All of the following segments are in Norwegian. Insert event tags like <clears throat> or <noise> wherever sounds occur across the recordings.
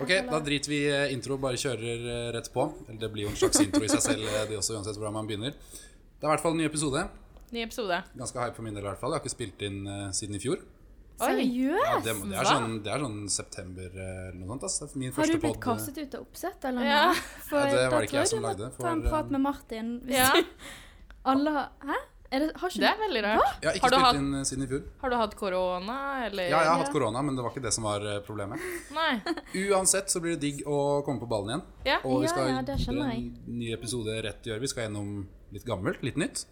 Ok, da driter vi i intro, bare kjører eh, rett på. Eller det blir jo en slags intro i seg selv, eh, det også, uansett hvordan man begynner. Det er i hvert fall en ny episode. Ny episode. Ganske hype for min del, i hvert fall. Jeg har ikke spilt inn eh, siden i fjor. Seriøst? Ja, det, må- det, er hva? sånn, det er sånn september eh, eller noe sånt. Ass. Det er Min Har du første blitt pod. eh, kastet ut av oppsett, eller noe? Ja. For Ja, det var det ikke jeg da tror som du må lagde, for, ta en um, prat med Martin. Hvis Ja, <laughs> alle har Hæ? Er det, har ikke det er veldig rart. Jeg har ikke Har du spilt hatt- inn eh, siden i fjor. Har du hatt korona, eller? Ja, jeg har Ja. hatt korona, men det var ikke det som var eh, problemet. Nei. Uansett så blir det digg å komme på ballen igjen. Ja. Og vi Ja, skal ja, det skjønner en ny episode rett i år. Vi skal gjennom litt gammelt, litt nytt.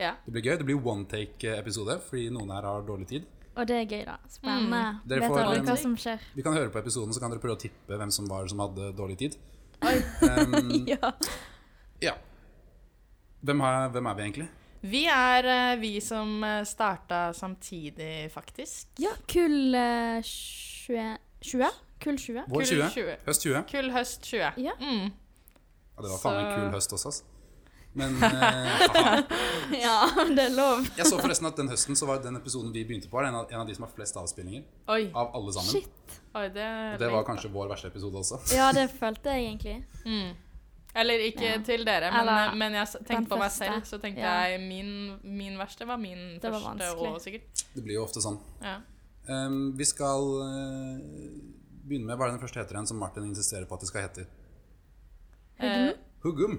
Ja. Det blir gøy. Det blir one take-episode, fordi noen her har dårlig tid. Og det er gøy, da. Spennende. Mm. Dere Vet får, alle um, hva som skjer? Vi kan høre på episoden, så kan dere prøve å tippe hvem som var som hadde dårlig tid. Mm. ja. Ja. Hvem, har, hvem er vi egentlig? Vi er eh, vi som eh, starta samtidig, faktisk. ja, kull eh, 20, 20? Kull 20? Vår Kull 20? 20. Høst 20? Kull høst 20. Ja. Mm. Ja, det var faen meg en Så- kul høst også, ass. Men eh, faen. <laughs> Ja, det er lov. jeg så forresten at den høsten så var den episoden vi begynte på, er en av, en av de som har flest avspillinger Oi. av alle sammen. Shit. Oi, det, Og det var kanskje vår verste episode også. Ja, det følte jeg egentlig. Mm. Eller ikke Ja. til dere, men, Eller eh, men jeg s- tenkte på meg første. selv, så tenkte Ja. jeg min, min verste var min Det var første vanskelig. og sikkert. Det blir jo ofte sånn. Ja. Ehm, vi skal eh, begynne med hva er den første heter igjen, som Martin insisterer på at det skal hete. Eh, Huggum.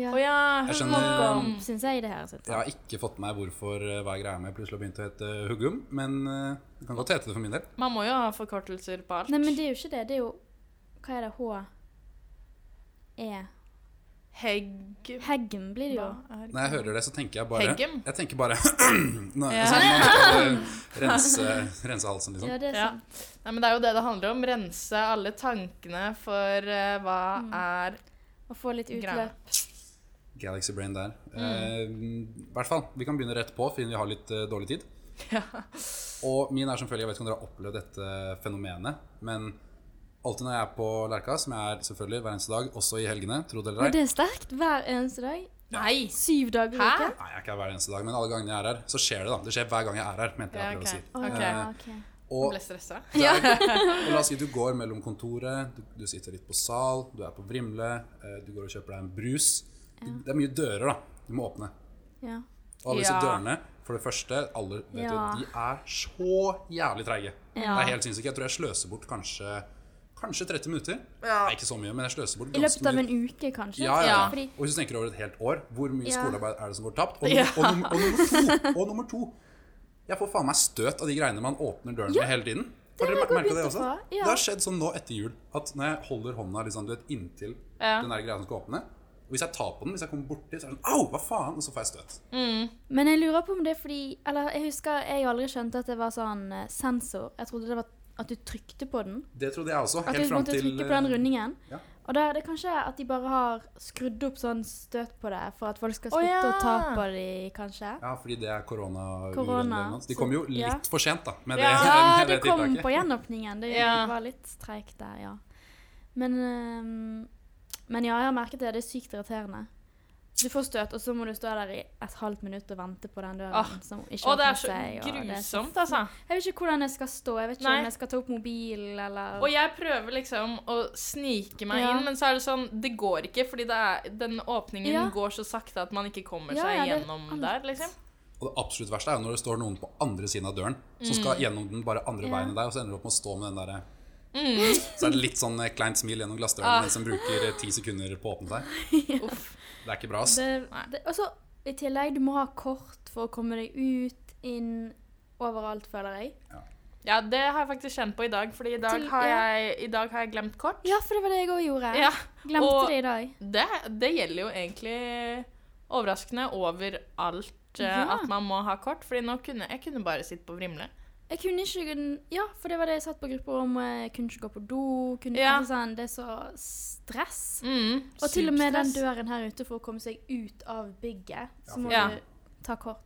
Ja. Å ja, Jeg hun skjønner, var- um, Syns jeg i det her. altså. Synes Jeg jeg. har ikke fått med meg hvorfor eh, hva er greia med plutselig å begynne å hete Huggum, men eh, det kan godt hete det for min del. Man må jo ha forkortelser på alt. Nei, men det er jo ikke det. Det er jo Hva er det? H... E... Hegg... Heggen blir det jo. Hva er- Når jeg hører det, så tenker jeg bare Heggum? Jeg tenker bare <clears throat> Nå, Ja. sånn, Man skal <laughs> eh, rense, rense halsen, liksom. Ja, det er sånn. Ja. sant. Nei, men det er jo det det handler om. Rense alle tankene for eh, hva Mm. er <laughs> Å få litt Greia. utløp. Galaxy Brain der. Eh, I hvert fall, vi kan begynne rett på, siden vi har litt eh, dårlig tid. Og min er som følger, jeg vet ikke om dere har opplevd dette fenomenet, men alltid når jeg er på Lerka, som jeg er selvfølgelig hver eneste dag, også i helgene, tro det Og eller ei det er sterkt hver eneste dag. Nei! Syv dager i Hæ? uken. Nei, jeg er ikke her hver eneste dag, men alle gangene jeg er her, så skjer det, da. Det skjer hver gang jeg er her, mente jeg Ja, prøvde ok. å si. Eh, Ok. Ja, Ah, ok. Og Ble stressa. <laughs> Og la oss si du går mellom kontoret, du, du sitter litt på sal, du er på Vrimle, eh, du går og kjøper deg en brus. Du, det er mye dører, da. Du må åpne. Ja. Og alle disse Ja. dørene, for det første, alle, vet Ja. du, de er så jævlig treige. Ja. Det er helt sinnssykt. Jeg tror jeg sløser bort kanskje, kanskje 30 minutter. Nei, ikke så mye, men jeg sløser bort I løpet ganske av mye. en uke, kanskje. Ja, ja, ja. Fordi, Og hvis du tenker over et helt år, hvor mye Ja. skolearbeid er det som går tapt? Og, Ja. num- og, num- og nummer <laughs> to! Og nummer to! Jeg får faen meg støt av de greiene man åpner døren med hele tiden. Har har dere jeg mer- godt merket det lyst også? på, ja. Det har skjedd sånn nå etter jul at når jeg holder hånda liksom, du vet, inntil Ja. den der greia som skal åpne, og hvis jeg tar på den, hvis jeg kommer borti, så er den au, hva faen? Og så får jeg støt. men jeg lurer på om det er fordi Eller jeg husker jeg aldri skjønte at det var sånn eh, sensor. Jeg trodde det var at du trykte på den. Det trodde jeg også. At Helt du fram måtte til eh, trykke på den rundingen. ja. Og da er det kanskje at de bare har skrudd opp sånn støt på det for at folk skal Å, slutte ja. å ta på de, kanskje. Ja, fordi det er korona. Korona, De kom jo så- litt ja. for sent, da. <laughs> Med Ja, det, Ja, med det kom tiltaket. på gjenåpningen. Det Ja. var litt streik der, ja. Men, ehm, men ja, jeg har merket det. Det er sykt irriterende. Du får støt, og så må du stå der i et halvt minutt og vente på den døren. Ah. som <laughs> ikke Og det er åpner så seg, og det er så- grusomt, altså. Jeg vet ikke hvordan jeg skal stå. Jeg vet ikke Nei. om jeg skal ta opp mobilen eller Og jeg prøver liksom å snike meg Ja. inn, men så er det sånn Det går ikke, fordi det er, den åpningen Ja. går så sakte at man ikke kommer Ja, seg ja, det- gjennom der, <laughs> liksom. Og det absolutt verste er jo når det står noen på andre siden av døren som skal gjennom den bare andre Mm. Ja. veien i deg, og så ender du opp med å stå med den derre Mm. Så er det litt sånn eh, kleint smil gjennom glassdøren Ah. mens en bruker eh, ti sekunder på å åpne seg. Uff. Det er ikke bra, ass. det, Nei. det, Og så i tillegg, du må ha kort for å komme deg ut, inn, overalt, føler jeg. Ja, det har jeg faktisk kjent på i dag, fordi i dag Til- har ja. jeg, i dag har jeg glemt kort. Ja, for det var det jeg òg gjorde. Ja. Glemte og- det i dag. Det, det gjelder jo egentlig overraskende overalt eh, Ja. at man må ha kort, fordi nå kunne jeg kunne bare sitte på Vrimle. Jeg kunne ikke Ja, for det var det jeg satt på grupperommet. Jeg kunne ikke gå på do. Kunne, Ja. altså, sånn, det er så stress. Mm, Og til og med den superstress. døren her ute for å komme seg ut av bygget, Ja, så må for- Ja. du ta kort.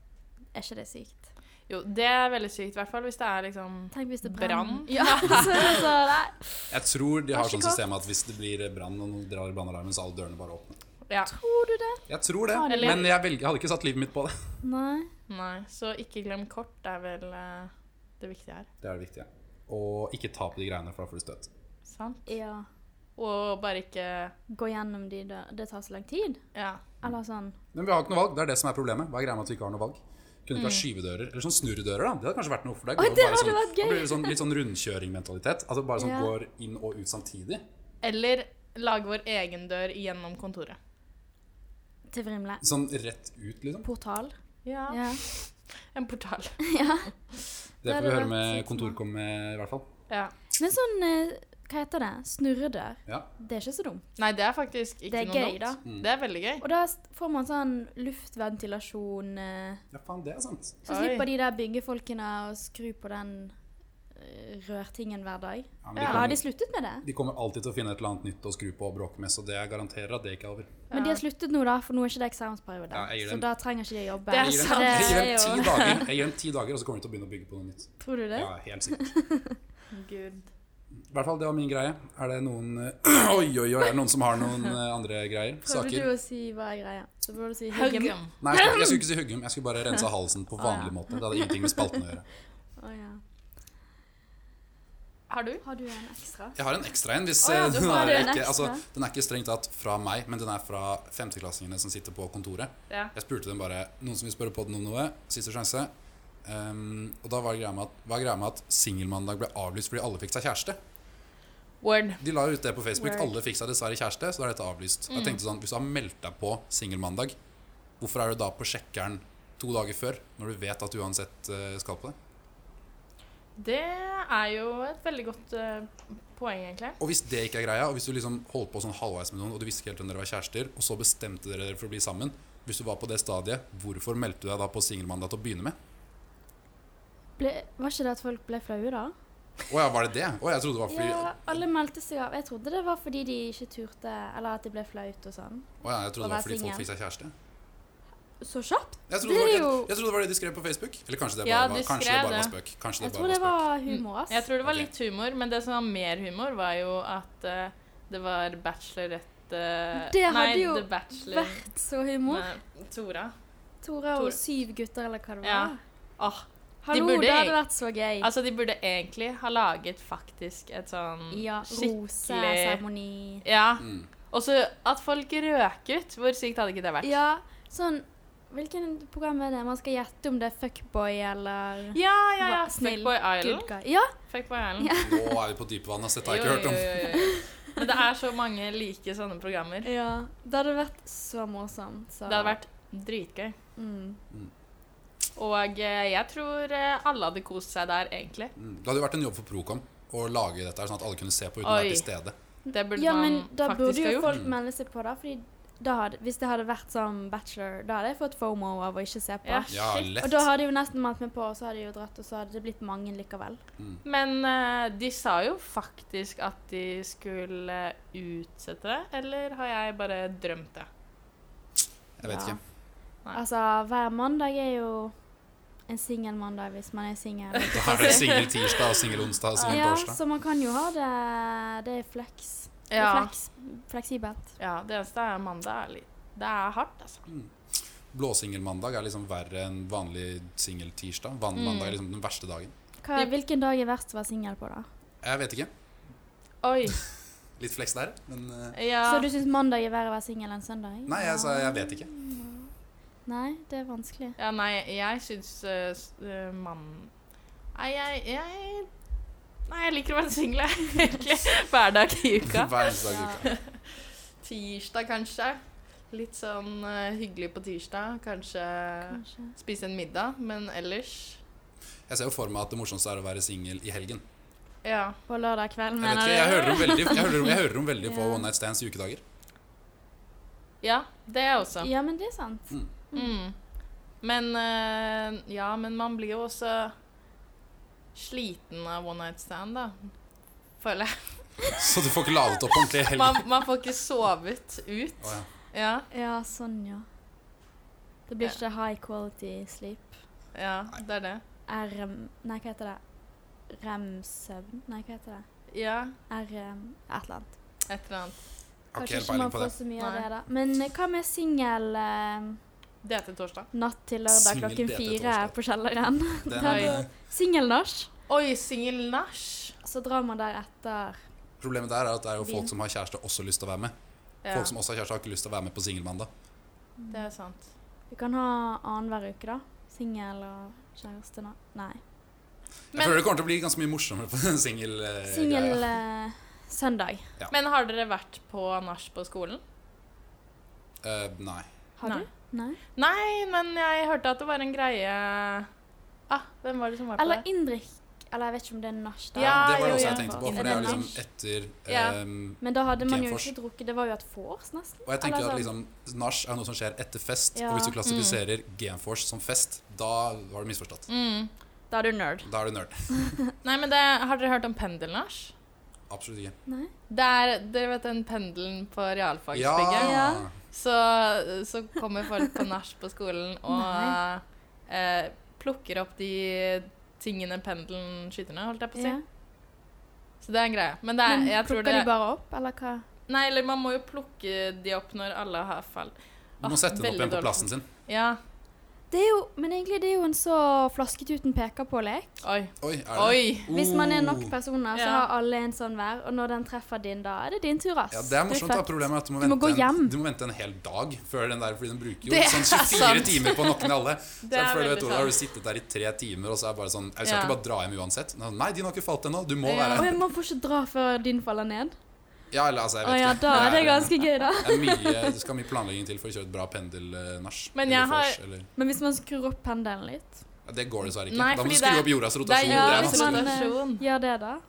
Er ikke det sykt? Jo, det er veldig sykt, i hvert fall hvis det er liksom Tenk hvis det Brann? brenner. Ja, så er det så, nei. Jeg tror de har Vær så sånn god. system at hvis det blir eh, brann og noen drar i brannalarmen, så er alle dørene bare åpne. Ja. Tror du det? Jeg tror det, Har de- men jeg, velger, jeg hadde ikke satt livet mitt på det. Nei. Nei, så ikke glem kort er vel eh, det viktige her. Det er det viktige. Og ikke ta på de greiene, for da får du støt. Sant? Ja. Og bare ikke Gå gjennom de dø- Det tar så lang tid. Ja. Eller sånn Men vi har ikke noe valg. Det er det som er problemet. Hva er greia med at vi ikke har noe valg? Kunne ikke ha skyvedører. Eller sånn snurredører, da. Det hadde kanskje vært noe for deg. Mm. Oi, Gå det bare hadde sånn, vært gøy. da blir det sånn, litt sånn rundkjøringmentalitet. At det bare sånn Ja. går inn og ut samtidig. Eller lage vår egen dør gjennom kontoret. til Vrimle. Sånn rett ut, liksom. Portal. Ja. Ja. En portal. <laughs> Det hadde får vi vært høre med litt sånn. Kontorkom i hvert fall. Ja. Men sånn eh, Hva heter det? Snurredør. Ja. Det er ikke så dumt. Nei, det er faktisk ikke Det er noe gøy, dumt. da. Det er veldig gøy. Og da s- får man sånn luftventilasjon eh, ja, faen, det er sant. Så Oi. slipper de der byggefolkene å skru på den eh, rørtingen hver dag. Ja, men de, Ja. Eller har de kommer, sluttet med det? de kommer alltid til å finne et eller annet nytt å skru på og bråke med, så det jeg garanterer at det ikke er over. Men de har sluttet nå, da, for nå er ikke det eksamensperiode. Ja, jeg gir så dem- da trenger ikke de å jobbe. Det er Jeg gir sant. dem- jeg gir dem ti Så det er jo <laughs> dager, jeg gir dem ti dager, og så kommer de til å begynne å bygge på noe nytt. Tror du det? Ja, helt sikkert. Gud. I hvert fall, det var min greie. Er det noen eh, <clears throat> Oi, oi, oi, er det noen som har noen eh, andre greier? Prøvde Saker? du å si hva er greia? Så burde du si Hugg Huggum. him. Nei, jeg skulle, jeg <laughs> skulle ikke si huggum. Jeg skulle bare rense halsen på vanlig måte. Det hadde ingenting med spalten å gjøre. Å, ja. Har du? Har du en ekstra? Jeg har en ekstra en. hvis Å ja, eh, du den, har er en ikke, altså, ekstra. den er ikke strengt tatt fra meg, men den er fra femteklassingene som sitter på kontoret. Ja. Jeg spurte dem bare Noen som vil spørre podden om noe? Siste sjanse. Um, og da var greia med at, var greia med at singelmandag ble avlyst fordi alle fikk seg kjæreste. Word. Mm. De la ut det på Facebook. Word. Alle fikk seg dessverre kjæreste, så da er dette avlyst. Jeg tenkte sånn, Hvis du har meldt deg på singelmandag, hvorfor er du da på sjekkeren to dager før, når du vet at du uansett eh, skal på det? Det er jo et veldig godt eh, poeng, egentlig. Og hvis det ikke er greia, og hvis du liksom holdt på sånn halvveis med noen, og du visste ikke helt om dere var kjærester, og så bestemte dere dere for å bli sammen, hvis du var på det stadiet, hvorfor meldte du deg da på singelmandag til å begynne med? Ble, var ikke det at folk ble flaue, da? Å ja, var det det? Å, jeg trodde det var fordi Ja, alle meldte seg av. Jeg trodde det var fordi de ikke turte, eller at de ble flaut og sånn. Å ja, jeg trodde Å det var være fordi folk singel. fikk seg kjæreste. Så kjapt? Jeg trodde det, Det var, er jeg, jo- jeg trodde det var det de skrev på Facebook. Eller kanskje det bare, Ja, de var, kanskje det skrev bare var det. spøk. Kanskje det Jeg bare tror det var spøk. var humor, ass. Mm. Jeg tror det var Ok. litt humor, men det som var mer humor, var jo at eh, det var bachelorette Det hadde Nei, jo The Bachelor Vært så humor. med Tora. Tora og Tor- syv gutter, eller hva det var. Ja. Åh, Hallo, burde det hadde egentlig- vært så gøy. altså, de burde egentlig ha laget faktisk et sånn ja, skikkelig- roseseremoni. Ja. Mm. Og så at folk røk ut. Hvor sykt hadde ikke det vært? Ja, sånn Hvilken program er det? Man skal gjette om det er fuckboy eller ja, ja. ja. Hva- snill, Fuckboy good Island. guy. Ja, Fuckboy Island. Nå er vi på dypvann, ass. Dette har jeg ikke hørt om. jo, jo, jo. Men det er så mange like sånne programmer. ja. Det hadde vært så morsomt. Så. Det hadde vært dritgøy. mm. Og eh, jeg tror eh, alle hadde kost seg der, egentlig. Mm. Det hadde jo vært en jobb for Procom å lage dette her, sånn at alle kunne se på uten å Oi. være til stede. Det burde Ja, men man da burde faktisk ha jo gjort. folk melde seg på, da. Fordi da hadde, hvis det hadde vært som Bachelor, da hadde jeg fått fomo av å ikke se på. Ja, Ja, shit. Og lett. da hadde jeg jo nesten meldt meg på, og så hadde jeg jo dratt, og så hadde det blitt mange likevel. Men eh, de sa jo faktisk at de skulle eh, utsette det, eller har jeg bare drømt det? Jeg vet Ja. ikke. Nei. Altså, hver mandag er jo en singelmandag hvis man er singel. Da er det singel tirsdag og singel onsdag og singel Ja, torsdag. så man kan jo ha det Det er fleks. Det er Ja. Fleks, fleksibelt. ja det eneste er mandag er litt Det er hardt, altså. Blåsingelmandag er liksom verre enn vanlig singeltirsdag. Vanlig mandag er liksom den verste dagen. Hva, hvilken dag er verst å være singel på, da? Jeg vet ikke. Oi. Litt fleks der, men eh, <laughs> Ja. Så du syns mandag er verre å være singel enn søndag? Nei, jeg sa jeg vet ikke. Nei, det er vanskelig. ja nei, jeg syns eh, s- eh, mann... Nei, jeg, jeg Nei, jeg liker å være singel, jeg. <laughs> <laughs> Egentlig. Hver dag i uka. <laughs> Hver eneste dag i uka. Tirsdag, kanskje. Litt sånn eh, hyggelig på tirsdag. Kanskje Kanskje. spise en middag, men ellers Jeg ser jo for meg at det morsomste er å være singel i helgen. Ja. På lørdag kveld, Jeg vet ikke, mener du? jeg hører om veldig, jeg hører om, jeg hører om veldig få Ja. one night stands i ukedager. <laughs> Ja, det også. Ja, men det er sant. Mm. Men eh, Ja, men man blir jo også sliten av one night stand, da. Føler jeg. Så du får ikke ladet opp ordentlig i helgen. Man, man får ikke sovet ut. Å, ja. Ja. Ja, sånn, ja. Det blir ikke high quality sleep. ja det er det. RM... Nei, hva heter det? REM-søvn? Nei, hva heter det? Ja, RM... Et eller annet. et eller annet. Jeg har ikke Kanskje helt ikke peiling man på får det. så mye av Nei. det, da. Men eh, hva med singel eh, Det er til torsdag. natt til lørdag Singel klokken DT fire torsdag. på <laughs> kjelleren? Den, Nei. eh, Singelnasj. Oi, singel nach. Så drar man der etter Problemet der er at det er jo Vin. folk som har kjæreste, også lyst til å være med. Ja, Folk som også har kjæreste, har ikke lyst til å være med på singelmandag. det er sant. Vi kan ha annenhver uke, da. Singel og kjæreste nå. Nei. Jeg Men, føler det kommer til å bli ganske mye morsommere på <laughs> den singelgreia. Singel eh, søndag. men har dere vært på nach på skolen? Eh, nei. Har Nei. du? Nei. Nei, men jeg hørte at det var en greie Ah, hvem var det som var på Eller det? innrikk... Eller jeg vet ikke om det er nach, da. Ja, det var jo, det også ja. jeg tenkte på, for det er jo liksom etter Ja. ehm, Men da hadde man jo Genfors. ikke drukket. Det var jo et vors, nesten. Og jeg tenker Eller at sånn. liksom, Nach er noe som skjer etter fest, Ja. og Mm. hvis du klassifiserer Genforce som fest, da var du misforstått. Mm, da er du nerd. Da er du nerd. Nei, men det, Har dere hørt om pendelnach? Absolutt ikke. Nei. Det er dere vet, den pendelen på Ja! realfagsbygget. Ja. Så, så kommer folk på nach på <laughs> skolen og eh, plukker opp de tingene pendelen skyter ned, holdt jeg på å si. Ja. Så det er en greie. Men det er, Men jeg tror plukker det de bare opp, eller hva? Nei, eller man må jo plukke de opp når alle har fall. Du må Ah, sette den opp veldig igjen på dårlig. plassen sin. Ja. Det er jo, men egentlig det er jo en så flasketuten peker på-lek. Oi. Oi, er det det? Oi. Hvis man er nok Oh. personer, så Ja. har alle en sånn hver. Og når den treffer din, da er det din tur, ass. Ja, det er morsomt. da. klart. Problemet er at du må, Du må gå vente en, hjem. du må vente en hel dag før den der, fordi den bruker jo Det er sånn sant. 24 timer på noen <laughs> alle. Så Det er jeg føler, vet veldig du, Da har du sant. sittet der i tre timer, og så er det bare sånn Jeg skal Ja. ikke bare dra hjem uansett. Nei, din har ikke falt ennå. Du må Ja. Å, være jeg må få ikke dra før din faller ned. Ja, eller altså, jeg Å vet ja, ikke. da Men er det ganske gøy, da. det er mye, det skal mye planlegging til for å kjøre et bra pendelnach. Men jeg har- eller, Men hvis man skrur opp pendelen litt, ja, Det går dessverre ikke. Nei, da må fordi du skru det- opp jordas Det er rotasjon. jo- det er hvis jordas vanskelig. man- eh, rotasjon. gjør det, da?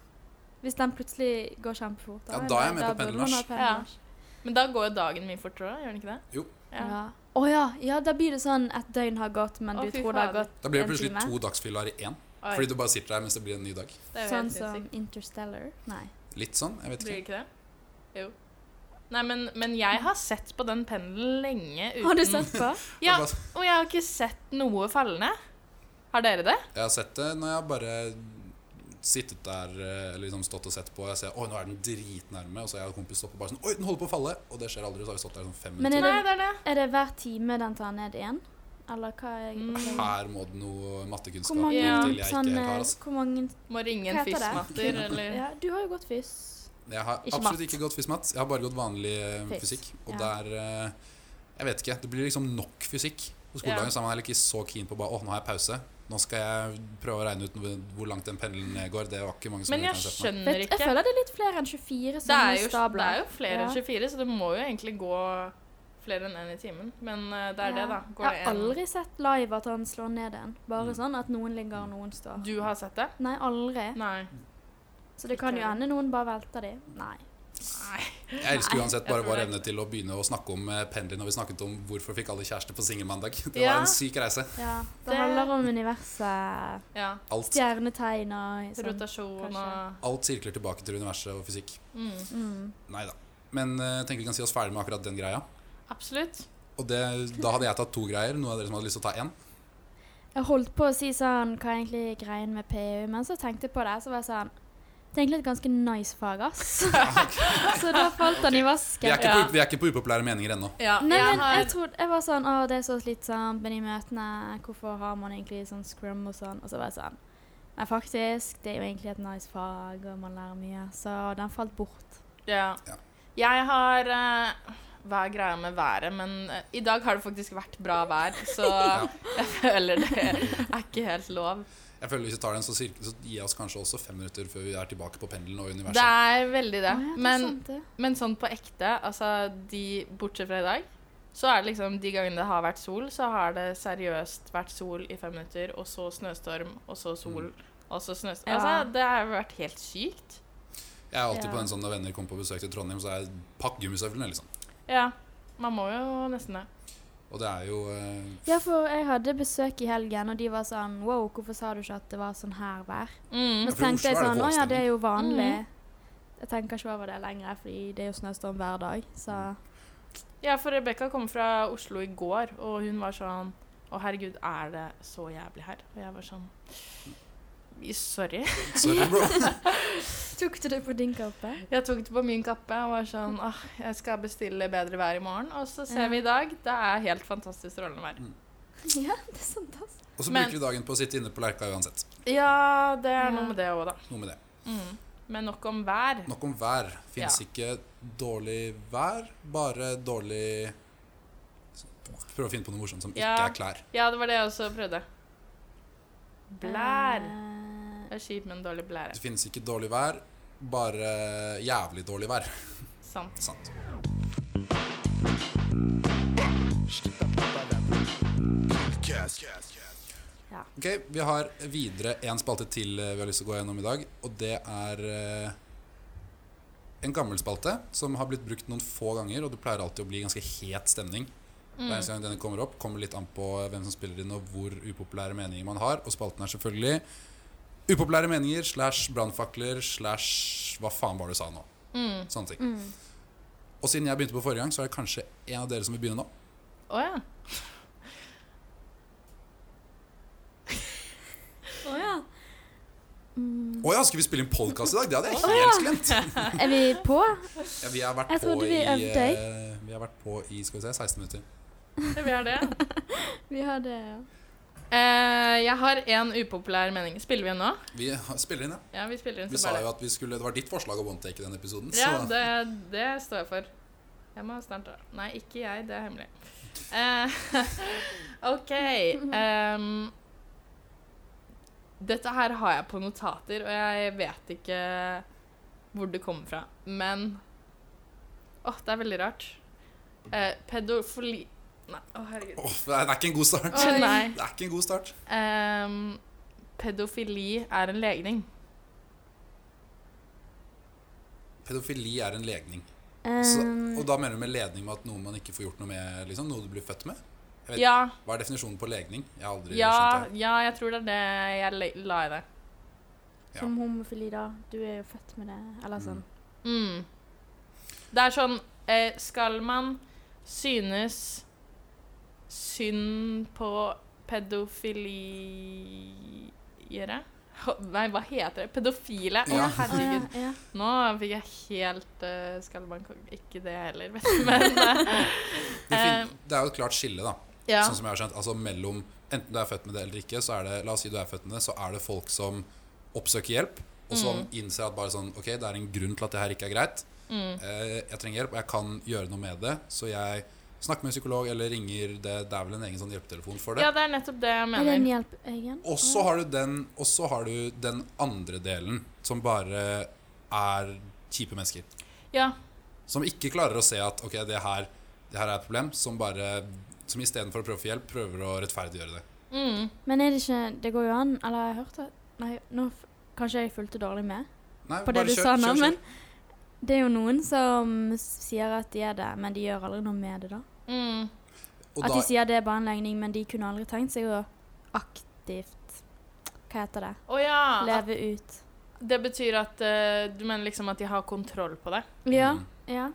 Hvis den plutselig går kjempefort, da, Ja, da er jeg med på burde man ha pendelmarsj. pendelmarsj. Men da går jo dagen min fortere, gjør den ikke det? Jo. Ja. Ja. Å ja. ja, da blir det sånn et døgn har gått, men Å, du fy tror det har fader. gått Da blir det en plutselig time. to dagsfyller i én. Oi. Fordi du bare sitter der mens det blir en ny dag. det er jo Sånn helt som sinnssykt. Interstellar. Nei. Litt sånn, jeg vet Blir det ikke. ikke det? Jo. Nei, men, men jeg har sett på den pendelen lenge uten Har du sett på? Ja, Jeg og jeg har ikke sett noe fallende. Har dere det? har sett det når jeg har bare sittet der eh, eller liksom stått og sett på. Jeg ser, Oi, nå er den dritnærme. Og så har jeg en kompis stått på bare sånn Oi, den holder på å falle! Og det skjer aldri. Så har vi stått der i sånn fem Men er minutter. Nei, det det- er det. Er det hver time den tar ned igjen? Eller hva er Mm. Her må det noe Hvor mattekunnskap mange, Ja. til jeg sånn, ikke eh, har. Altså. hvor mange Må ringe Hva en heter det? fysmatter, eller Ja, du har jo gått fys. Mm, Jeg har Ikke absolutt matt. ikke gått fysmat. Jeg har bare gått vanlig eh, Fys. fysikk. Og Ja. der eh, Jeg vet ikke. Det blir liksom nok fysikk. På Ja. skoledagen så er man heller ikke så keen på bare Å, nå har jeg pause. Nå skal jeg prøve å regne ut noe- hvor langt den pendelen ned går. Det var ikke mange som Men kunne jeg sett meg. skjønner Vet, jeg ikke. føler det er litt flere enn 24 Det sånne er jo, det er stabler. jo flere enn Ja. 24, så det må jo egentlig gå flere enn én i timen. Men eh, det er det, Ja. da. Går Jeg det har en- aldri sett live at han slår ned en. Bare Mm. sånn at noen ligger og noen står. Du har sett det? Nei, aldri. Nei. Så det kan jo hende noen bare velter de. Nei. Nei. Jeg elsker uansett bare jeg tror vår det. evne til å begynne å snakke om eh, pendelen. Og vi snakket om hvorfor fikk alle kjæreste på singelmandag. <laughs> Det Ja. var en syk reise. Ja, det, Det- handler om universet, Ja. Alt, stjernetegn og sånn. Rotasjon kanskje. og alt sirkler tilbake til universet og fysikk. mm. Mm. Nei da. Men eh, jeg tenker vi kan si oss ferdig med akkurat den greia. Absolutt. Og det, da hadde jeg tatt to greier. Noen av dere som hadde lyst til å ta én? Jeg holdt på å si sånn Hva er egentlig greien med PU? Men så tenkte jeg på det, så var jeg sånn Det er egentlig et ganske nice fag, ass. <laughs> så da falt han i Vi, er vasken. ikke Ja. på- vi er ikke på upopulære meninger ennå. Ja, Nei, jeg men jeg har trodde Jeg var sånn Å, det er så slitsomt, men i møtene Hvorfor har man egentlig sånn scrum og sånn? Og så var jeg sånn Nei, faktisk, det er jo egentlig et nice fag, og man lærer mye. Så den falt bort. Ja. Ja. Jeg har eh, Hva er greia med været? Men eh, i dag har det faktisk vært bra vær, så jeg føler det er ikke helt lov. Jeg føler Hvis vi tar den, så, cirka, så gir jeg oss kanskje også fem minutter før vi er tilbake på pendelen og Det universet. er veldig det. Å, ja, det er Men, sant, det. men sånn på ekte, altså de Bortsett fra i dag, så er det liksom de gangene det har vært sol, så har det seriøst vært sol i fem minutter, og så snøstorm, og så sol, og så snøstorm. Ja. Altså, det har vært helt sykt. Jeg er alltid Ja. på den sånn når venner kommer på besøk til Trondheim, så er jeg pakk gummisøvlene, liksom. Ja. Man må jo nesten det. Og det er jo eh, Ja, for jeg hadde besøk i helgen, og de var sånn Wow, hvorfor sa du ikke at det var sånn her vær? Mm. Men Ja, så for i tenkte jeg Oslo er det sånn, å ja, det er jo vanlig. Mhm. Jeg tenker ikke over det lenger, fordi det er jo snøstorm hver dag. Så Mm. Ja, for Rebekka kom fra Oslo i går, og hun var sånn Å, herregud, er det så jævlig her? Og jeg var sånn Sorry. Sorry, <laughs> bro. tok du det på din kappe? Jeg tok det på min kappe og var sånn Åh, jeg skal bestille bedre vær i morgen. Og så ser vi i dag. Det er helt fantastisk strålende vær. <laughs> Ja, det er sant, altså. Og så Men- bruker vi dagen på å sitte inne på Lerka uansett. Ja, det er Ja. noe med det òg, da. Noe med det. Mm. Men nok om vær. Nok om vær. Fins Ja. ikke dårlig vær, bare dårlig Prøv å finne på noe morsomt som ikke Ja. er klær. Ja, det var det jeg også prøvde. Blær. Eh, Det er kjipt med en dårlig blære. Det finnes ikke dårlig vær, bare jævlig dårlig vær. Sant. Sant. ja. Ok, Vi har videre en spalte til eh, vi har lyst til å gå gjennom i dag. Og det er eh, en gammel spalte som har blitt brukt noen få ganger, og det pleier alltid å bli ganske het stemning. Mm. Hver eneste gang denne kommer opp, kommer litt an på eh, hvem som spiller den, og hvor upopulære meninger man har. Og spalten er selvfølgelig upopulære meninger slash brannfakler slash hva faen var det du sa nå? Sånne ting. Mm. Og siden jeg begynte på forrige gang, så er det kanskje en av dere som vil begynne nå. Å ja. Å ja. Mm. Å ja, skal vi spille inn podkast i dag? Det hadde jeg Å, helt glemt. <laughs> Er vi på? Ja, vi, har vært Jeg på trodde vi i, øvde. eh, vi har vært på i skal vi se, 16 minutter. Vi har <laughs> det. Vi har det, ja. Eh, jeg har en upopulær mening. Spiller vi den nå? Vi har- spiller inn, ja. Ja, vi spiller den. Vi så sa bare jo at vi skulle, det var ditt forslag å one-take i den episoden. Ja, så det, det står jeg for. Jeg må snart dra. Nei, ikke jeg. Det er hemmelig. Eh, <laughs> OK. ehm, dette her har jeg på notater, og jeg vet ikke hvor det kommer fra. Men Åh, det er veldig rart. Eh, pedofili... Nei, å herregud. Åh, det er ikke en god start. Å, <laughs> nei. Det er ikke en god start. Ehm, pedofili er en legning. Pedofili er en legning. Så, Um, og da mener du med ledning med at noe man ikke får gjort noe med? Liksom, noe du blir født med? Vet- Ja, Hva er definisjonen på legning? Jeg har aldri ja, skjønt det. ja, jeg tror det er det jeg le- la i det. ja. Som homofili, da. Du er jo født med det. Eller sånn. Mm. Det er sånn eh, Skal man synes synd på pedofiliere? Hå- Nei, hva heter det? Pedofile? Å, Ja. Å ja, herregud. ja. Nå fikk jeg helt eh, Skal man ko- Ikke det heller, vet du. Men eh, Det, fin- eh, det er jo et klart skille, da. <laughs> ja. Sånn som jeg har skjønt, altså mellom Enten du er født med det eller ikke, så er det La oss si du er født med det, så er det folk som oppsøker hjelp, og som Mm. innser at bare sånn Ok, det er en grunn til at det her ikke er greit. Mm. Eh, jeg trenger hjelp, og jeg kan gjøre noe med det, så jeg snakker med en psykolog eller ringer det Det er vel en egen sånn hjelpetelefon for det. ja, det er nettopp det jeg Er det en mener. hjelp, Egen? Og så har du den Og så har du den andre delen som bare er kjipe mennesker. Ja. Som ikke klarer å se at ok, det her, det her er et problem, som bare Som istedenfor å prøve å få hjelp, prøver å rettferdiggjøre det. Mm. Men er det ikke Det går jo an Eller jeg har hørt det Nei, nå f kanskje jeg fulgte dårlig med Nei, på det bare du kjør, sa nå, kjør, kjør. men det er jo noen som s- sier at de er det, men de gjør aldri noe med det, da. Mm. Og at da- de sier det er bare en legning, men de kunne aldri tenkt seg å aktivt Hva heter det? Å ja. at- Leve ut. Det betyr at eh, du mener liksom at de har kontroll på det? Ja. Mm. ja.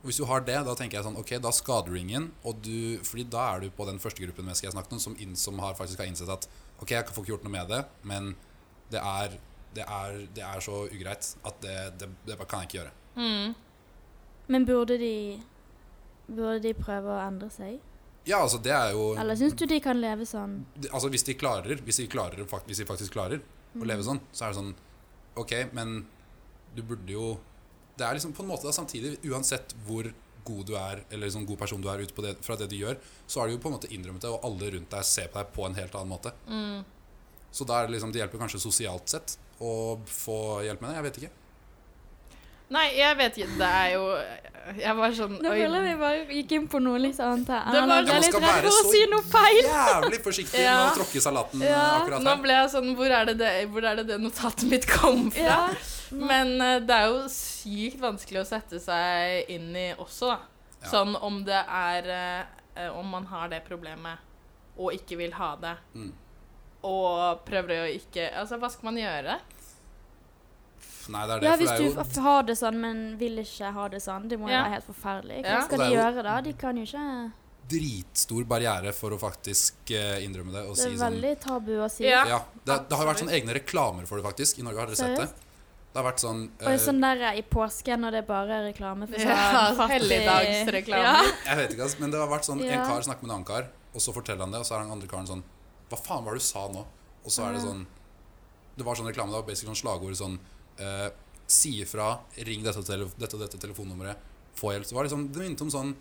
Og Hvis du har det, da tenker jeg sånn Ok, da skader du ingen. Og du, fordi da er du på den første gruppen mennesker jeg snakket om, som, inn, som har faktisk har innsett at Ok, jeg får ikke gjort noe med det, men det er, det er, det er så ugreit at det, det, det bare kan jeg ikke gjøre. Mm. Men burde de Burde de prøve å endre seg? Ja, altså det er jo Eller syns du de kan leve sånn? det- Altså hvis de klarer, hvis de, klarer, fak- hvis de faktisk klarer å leve sånn, så er det sånn Ok, men du burde jo Det er liksom på en måte da samtidig, uansett hvor god du er, eller liksom god person du er ut på det, fra det du gjør, så har du jo på en måte innrømmet det, og alle rundt deg ser på deg på en helt annen måte. Mm. Så da er det liksom, det hjelper kanskje sosialt sett å få hjelp med det. Jeg vet <laughs> ikke. Nei, jeg vet ikke. Det er jo Jeg var sånn Nå oi. føler jeg vi bare gikk inn på noe litt annet her. Det var- Erlend, Ja, Jeg man er skal litt redd være for så å si noe <laughs> feil. Jævlig forsiktig med Ja. å tråkke i salaten eh, Ja, akkurat Nå her. ble jeg sånn Hvor er det det, hvor er det, det notatet mitt kom fra? Ja. Men eh, det er jo sykt vanskelig å sette seg inn i også, da. Ja. Sånn om det er eh, eh, Om man har det problemet og ikke vil ha det, Mm. og prøver å ikke Altså, hva skal man gjøre? Nei, det er det, Ja, for hvis det er du jo f- har det sånn, men vil ikke ha det sånn. Det må jo Ja. være helt forferdelig. Hva Ja. Og det skal de er jo- gjøre da? De kan jo ikke dritstor barriere for å faktisk eh, innrømme det og Det si er sånn veldig tabu å si. Ja. Ja, det, det har vært sånne egne reklamer for det, faktisk. I Norge har dere sett det. Seriøst? Det har vært sånn, Og eh, sånn der eh, i påsken når det er bare reklame for <laughs> sånn Ja, fattig- helligdagsreklame. Ja. Jeg vet ikke, ass, men det har vært sånn En Ja. kar snakker med en annen kar, og så forteller han det, og så er den andre karen sånn Hva faen var det du sa nå? Og så er det sånn Det var sånn reklame, det var basically sånn slagord sånn eh, si ifra, ring dette, og tele dette og dette telefonnummeret, få hjelp. Det var liksom, det minnet om sånn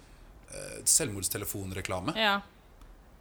eh, selvmordstelefonreklame. Ja.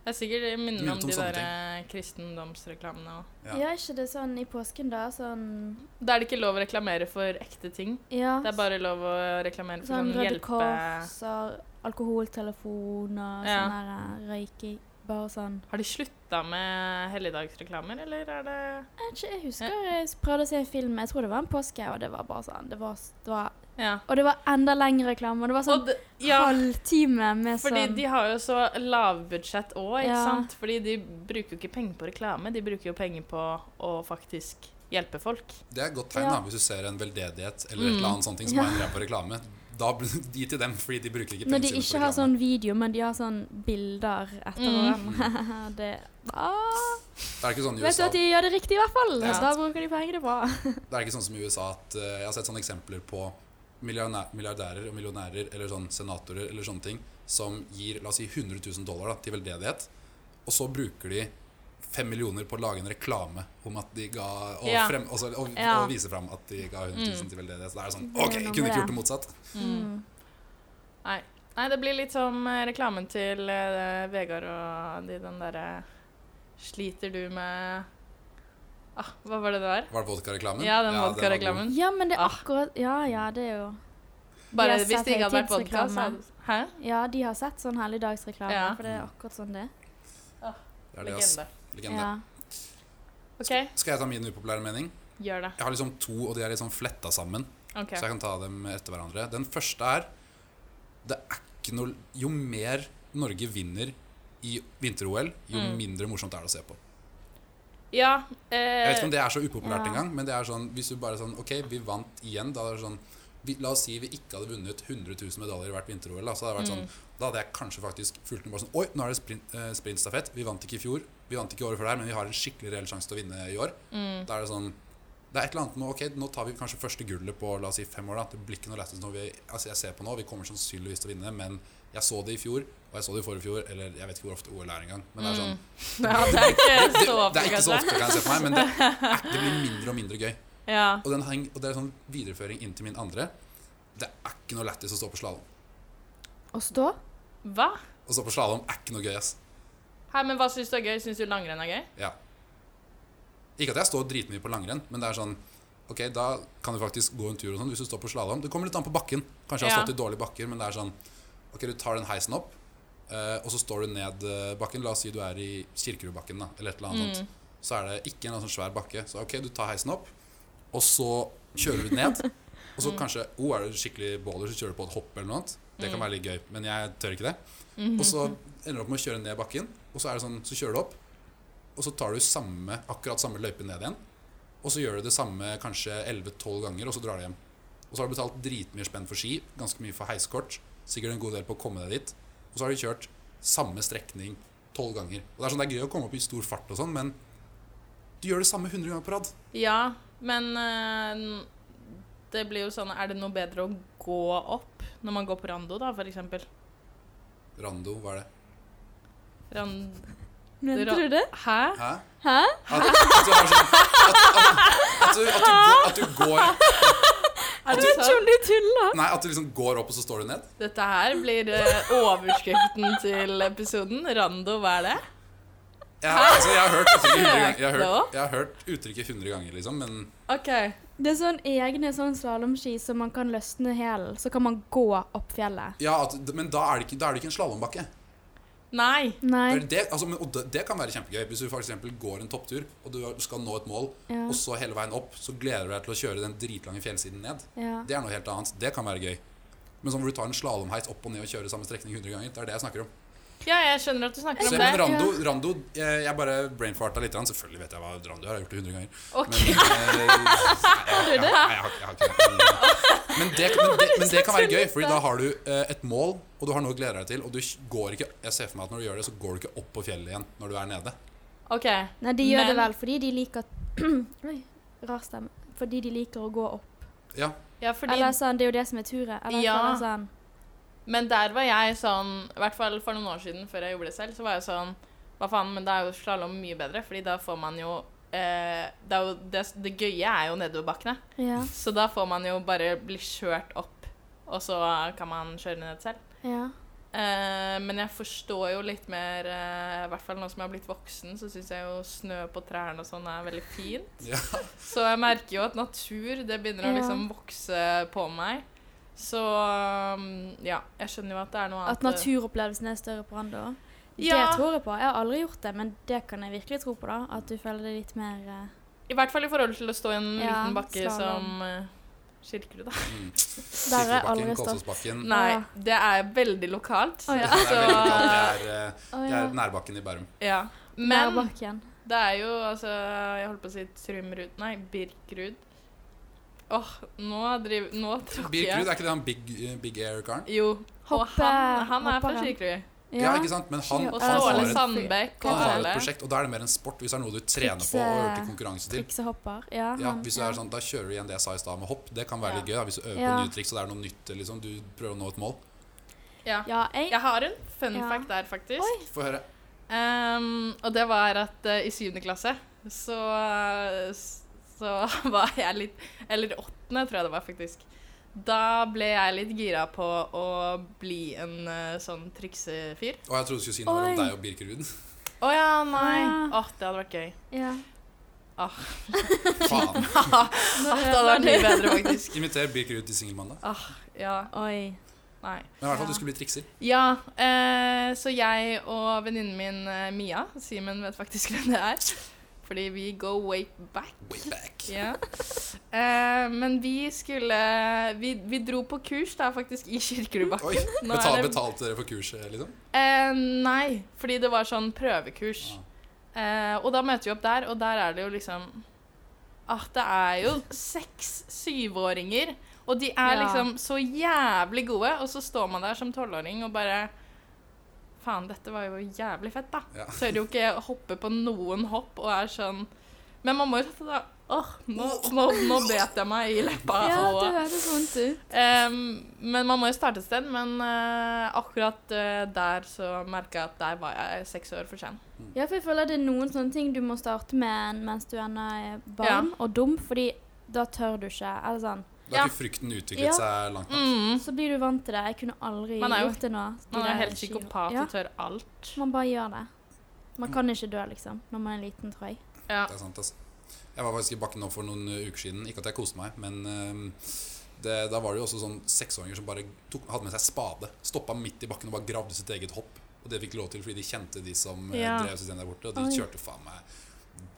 Det er sikkert det minner Minnet om om de sånne der eh, kristendomsreklamene òg. Ja. Ja, er ikke det sånn i påsken, da? Sånn Da er det ikke lov å reklamere for ekte ting. Ja. Det er bare lov å reklamere for sånn sånn Røde hjelpe... Kors og alkoholtelefon og Ja. sånn der eh, røyking. Bare sånn Har de slutta med helligdagsreklamer, eller er det Jeg, vet ikke, jeg husker jeg s- prøvde å se en film, jeg tror det var en påske, og det var bare sånn det var, s- det var, Ja. Og det var enda lengre reklame, og det var sånn Og d- ja, halvtime med fordi sånn de har jo så lavbudsjett òg, ikke Ja. sant? Fordi de bruker jo ikke penger på reklame, de bruker jo penger på å faktisk hjelpe folk. Det er et godt tegn Ja. da, hvis du ser en veldedighet eller et Mm. eller annet sånt ting som Ja. er en greie på reklame. Da blir <laughs> de til dem, fordi de bruker ikke Når de pengene ikke sine på har reklame. sånn video, men de har sånn bilder etter Mm. hverandre. <laughs> det ah, Det er ikke sånn i Vet du USA at de gjør det riktig, i hvert fall? Ja. Så da bruker de pengene bra. Det er ikke sånn som i USA at eh, jeg har sett sånne eksempler på milliardæ- milliardærer og millionærer eller sånn senatorer eller sånne ting som gir la oss si 100 000 dollar da, til veldedighet, og så bruker de fem millioner på å lage en reklame om at de ga Og, Ja. frem, og, så, og, Ja. Mm. og vise fram at de ga 100 000 til veldedighet. Så det er sånn Det er OK, noe jeg med kunne ikke det. gjort det motsatt. Mm. Nei. Nei, det blir litt som eh, reklamen til eh, Vegard og de den derre Sliter du med ah, Hva var det det var? Var det vodkareklamen? Ja, den var god. vodkareklamen. Ja, men det er Ah. akkurat Ja, ja, det er jo Bare Jeg har hvis sett det ikke hadde vært vodka, høytidsreklame. så hadde Hæ? Ja, de har sett sånn helligdagsreklame, Ja. for det er akkurat sånn det. Det er det, ass. Legende. Legende. Ja. OK, Skal jeg ta min upopulære mening? gjør det. Jeg har liksom to, og de er liksom fletta sammen. OK. Så jeg kan ta dem etter hverandre. Den første er Det er ikke noe Jo mer Norge vinner i vinter-OL, jo Mm. mindre morsomt er det å se på. Ja Jeg vet eh, ikke om det er så upopulært ja. engang, men det er sånn hvis du bare sånn OK, vi vant igjen. Da er det sånn vi, La oss si vi ikke hadde vunnet 100 000 medaljer i hvert vinter-OL. Da, så hadde det vært sånn Da hadde jeg kanskje faktisk fulgt med bare sånn Oi, nå er det sprint, eh, sprintstafett. Vi vant ikke i fjor. Vi vant ikke året før der, men vi har en skikkelig reell sjanse til å vinne i år. mm, Da er det sånn Det er et eller annet med Ok, nå tar vi kanskje første gullet på la oss si fem år. da Det blir ikke noe lættis når vi Altså, jeg ser på nå, vi kommer sannsynligvis til å vinne, men jeg så det i fjor, og jeg så det i forrige fjor, eller jeg vet ikke hvor ofte OL er engang. Men det er sånn <laughs> ja, det er ikke <laughs> så Det er ikke så oppsiktsvekkende. ofte kan jeg se på meg, men det, er, det blir mindre og mindre gøy. Ja. Og, den heng, og det er sånn videreføring inn til min andre. Det er ikke noe lættis å stå på slalåm. Å stå? Hva? Å stå på slalåm er ikke noe gøy, ass. Hæ, men hva syns du er gøy? Syns du langrenn er gøy? Ja. Ikke at jeg står dritmye på langrenn, men det er sånn Ok, da kan du faktisk gå en tur og sånn hvis du står på slalåm. Det kommer litt an på bakken. Kanskje jeg har Ja. stått i dårlige bakker, men det er sånn Ok, du tar den heisen opp, eh, og så står du ned eh, bakken. La oss si du er i Kirkerudbakken, da, eller et eller Mm. annet sånt. Så er det ikke en eller annen sånn svær bakke. Så ok, du tar heisen opp, og så kjører du ned. Og så kanskje oh, er du skikkelig baller, så kjører du på et hopp eller noe annet. Det kan være litt gøy, men jeg tør ikke det. Og så ender du opp med å kjøre ned bakken, og så, er det sånn, så kjører du opp. Og så tar du samme, akkurat samme løype ned igjen. Og så gjør du det samme kanskje 11-12 ganger, og så drar du hjem. Og så har du betalt dritmye spenn for ski, ganske mye for heiskort, sikkert en god del på å komme deg dit. Og så har du kjørt samme strekning 12 ganger. Og det er sånn det er gøy å komme opp i stor fart og sånn, men du gjør det samme 100 ganger på rad. Ja, men eh, det blir jo sånn Er det noe bedre å gå opp når man går på rando, da, for eksempel? Rando, hva er det? Ran- Mente Ra- du det? Hæ? Hæ? Hæ? At, at du har sånn at, at, at, du, at, du, går- at du går Er Jeg det vet ikke sant? om du tuller! Nei, at du liksom går opp, og så står du ned. Dette her blir eh, overskriften til episoden. Rando, hva er det? Jeg, altså, jeg har hørt uttrykket 100 ganger, jeg har Rando? hørt, jeg har hørt uttrykket 100 ganger liksom, men OK. Det er sånn egne sånn slalåmski som man kan løsne hælen, så kan man gå opp fjellet. Ja, at, men da er det ikke, da er det ikke en slalåmbakke. Nei. Det, Nei. er det, altså, men- og det, det kan være kjempegøy. Hvis du for eksempel går en topptur, og du skal nå et mål, Ja. og så hele veien opp, så gleder du deg til å kjøre den dritlange fjellsiden ned. Ja. Det er noe helt annet. Det kan være gøy. Men sånn hvor du tar en slalåmheis opp og ned og kjører samme strekning 100 ganger, det er det jeg snakker om. Ja, jeg skjønner at du snakker Så, om men det. Rando, Rando eh, jeg, jeg bare brainfarta litt. grann. Selvfølgelig vet jeg hva Rando er, jeg har gjort det 100 ganger. Ok. Men, eh, <laughs> nei, jeg, jeg, jeg, har- jeg har ikke det. Men det, men, det, men det kan være gøy, Fordi da har du eh, et mål, og du har noe å glede deg til. Og du går ikke Jeg ser for meg at når du gjør det, så går du ikke opp på fjellet igjen når du er nede. OK. Nei, de gjør Men- det vel fordi de liker <clears throat> Oi, rar stemme. Fordi de liker å gå opp. Ja, Ja, fordi Eller sånn, det er jo det som er turet. Eller Ja. bare sånn Men der var jeg sånn, i hvert fall for noen år siden før jeg gjorde det selv, så var jeg sånn Hva faen, men da er jo slalåm mye bedre, fordi da får man jo eh, det, er jo, det, det gøye er jo nedoverbakkene. sånn. Ja. Så da får man jo bare bli kjørt opp, og så kan man kjøre ned selv. Ja. Eh, men jeg forstår jo litt mer eh, I hvert fall nå som jeg har blitt voksen, så syns jeg jo snø på trærne og sånn er veldig fint. <laughs> Ja. Så jeg merker jo at natur det begynner å Ja. liksom vokse på meg. Så um, ja, jeg skjønner jo at det er noe At annet. naturopplevelsen er større på Randa. Ja. Det tror jeg på. Jeg har aldri gjort det, men det kan jeg virkelig tro på. da At du føler det litt mer eh, I hvert fall i forhold til å stå i en Ja, liten bakke slalom. som eh, Kirkerud, da. Der har jeg Mm. Kirkebakken, aldri stått. Kolsåsbakken. Nei, Ah. det er veldig lokalt. Å, ja. Det er veldig kaldt. Det er, eh, Å det ja. er nærbakken i Bærum. Ja. Men Men bakken. det er jo altså Jeg holdt på å si Trumrud Nei, Birkerud. Åh, nå driver Nå tråkker Birkerud, er jeg. ikke det han Big, eh, Big Air karen? Jo. Og Hoppe- han, han er fra hopperen. Kirkerud. Ja, ikke sant? Men han, Ja. Og han, har Ståle et, Sandbekk og han har alle. et prosjekt, og da er det mer en sport hvis det er noe du trener på og Trikse- øker konkurranse til. Triksehopper. Ja, Ja, eh, han- hvis du ja. er sånn, Da kjører du igjen det jeg sa i stad med hopp. Det kan være Ja. litt gøy da, hvis du øver Ja. på nye triks og det er noe nytt. liksom, Du prøver å nå et mål. Ja. Ja, jeg Jeg har en fun Ja. fact der, faktisk. Få høre. Ehm, og det var at eh, i syvende klasse så, så <laughs> var jeg litt Eller åttende, tror jeg det var, faktisk. Da ble jeg litt gira på å bli en eh, sånn triksefyr. Og jeg trodde du skulle si noe Oi. mellom deg og Birkerud. Å ja, nei. Åh, Ja. det hadde vært gøy. <laughs> ja. <laughs> Faen. Åh, det hadde vært mye bedre, faktisk. Inviter Birkerud til singelmandag. Ja, Oi. nei. Men i hvert fall, Ja. du skulle bli trikser. Ja, eh, så jeg og venninnen min eh, Mia Simen vet faktisk <laughs> hvem det er. Fordi vi go way back. Way back. Ja. Eh, men vi skulle vi, vi dro på kurs da, faktisk, i Kirkerudbakken. <laughs> Oi, Nå er betal, det- Betalte dere for kurset, liksom? Eh, nei, fordi det var sånn prøvekurs. Ah. Eh, og da møter vi opp der, og der er det jo liksom Ah, det er jo seks syvåringer, og de er Ja. liksom så jævlig gode, og så står man der som tolvåring og bare Faen, dette var jo jævlig fett, da. Ja. Tør jo ikke å hoppe på noen hopp og er sånn Men man må jo sette da Åh, nå, nå, nå bet jeg meg i leppa. Ja, og, det høres vondt ut. Ehm, men man må jo starte et sted. Men eh, akkurat eh, der så merka jeg at der var jeg seks år for sen. Ja, for jeg føler det er noen sånne ting du må starte med mens du ennå er barn og dum, fordi da tør du ikke. Eller sånn. Da har Ja. ikke frykten Ja. utviklet seg langt nok. Mm. Så blir du vant til det. Jeg kunne aldri Man er jo- gjort det nå. de Man er der helt ski- psykopat Ja, og tør alt. man bare gjør det. Man kan ikke dø, liksom, når man er liten, tror jeg. Ja. Det er sant, altså. Jeg var faktisk i bakken nå for noen uh, uker siden. Ikke at jeg koste meg, men um, det, da var det jo også sånn seksåringer som bare tok, hadde med seg spade. Stoppa midt i bakken og bare gravde sitt eget hopp. Og det fikk de lov til fordi de kjente de som uh, Ja. drev systemet der borte. Og de Oi. kjørte faen meg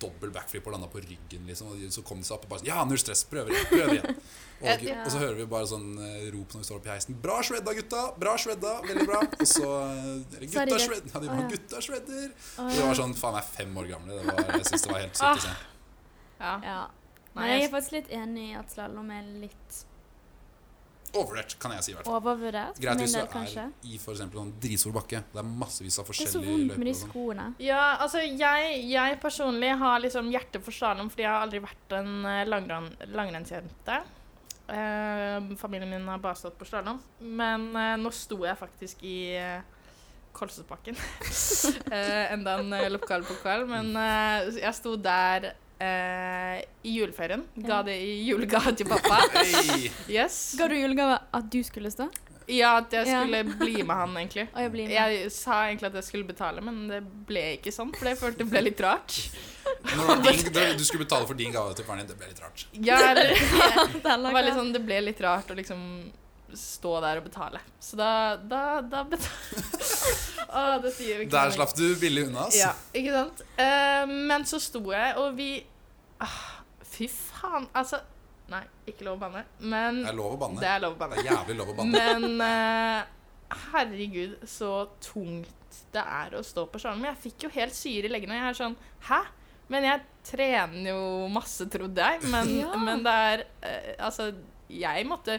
dobbel backflip og landa på ryggen, liksom. Og de, så kom de seg opp og bare sånn Ja, null stress, prøver igjen, prøver igjen. Og, Ja. og så hører vi bare sånn uh, rop når vi står oppe i heisen. Bra shredda, gutta! Bra shredda! Veldig bra. Og så uh, eller, Sa de Gutta det? shredder! Ja, de Å, var ja. gutta shredder! Å, De ja. var sånn faen meg fem år gamle. Det var, jeg synes det var helt sykt å se. ja. Ja. Nei, Men jeg jeg- er faktisk litt enig i at slalåm er litt Overvurdert, kan jeg si. i hvert fall overvurdert. For Greit min hvis du del, kanskje. er i for eksempel sånn dritstor bakke. Det er massevis av Det er så forskjellige vondt med løyper. de og sånn. skoene. Ja, altså jeg, jeg personlig har liksom hjerte for slalåm fordi jeg har aldri vært en eh, langrenn, langrennsjente. Eh, familien min har bare stått på slalåm. Men eh, nå sto jeg faktisk i eh, Kolsåsbakken. <laughs> eh, enda en eh, lokal pokal. Men eh, jeg sto der eh, i juleferien. Ga Ja. det i julegave til pappa. <laughs> Hei! Yes. Ga du julegave at du skulle stå? Ja, at jeg Ja. skulle bli med han, egentlig. Og jeg blir <laughs> med. Jeg sa egentlig at jeg skulle betale, men det ble ikke sånn, for jeg følte det ble litt rart. Når din, du- du skulle betale for din gave til faren din, det ble litt rart. Ja, eller, det, Det var litt sånn, det ble litt rart å liksom stå der og betale. Så da, da, da betalte <laughs> Å, det sier vi ikke. Der slapp du billig unna, ass. Ja, ikke sant? Eh, men så sto jeg, og vi ah, Fy faen. Altså Nei, ikke lov å banne, men Det er lov å banne. det Det er lov å banne. er jævlig lov å banne. Men eh, herregud, så tungt det er å stå på slalåm. Jeg fikk jo helt syre i leggene. Jeg er sånn Hæ? Men jeg trener jo masse, trodde jeg. Men, Ja. men det er eh, Altså, jeg måtte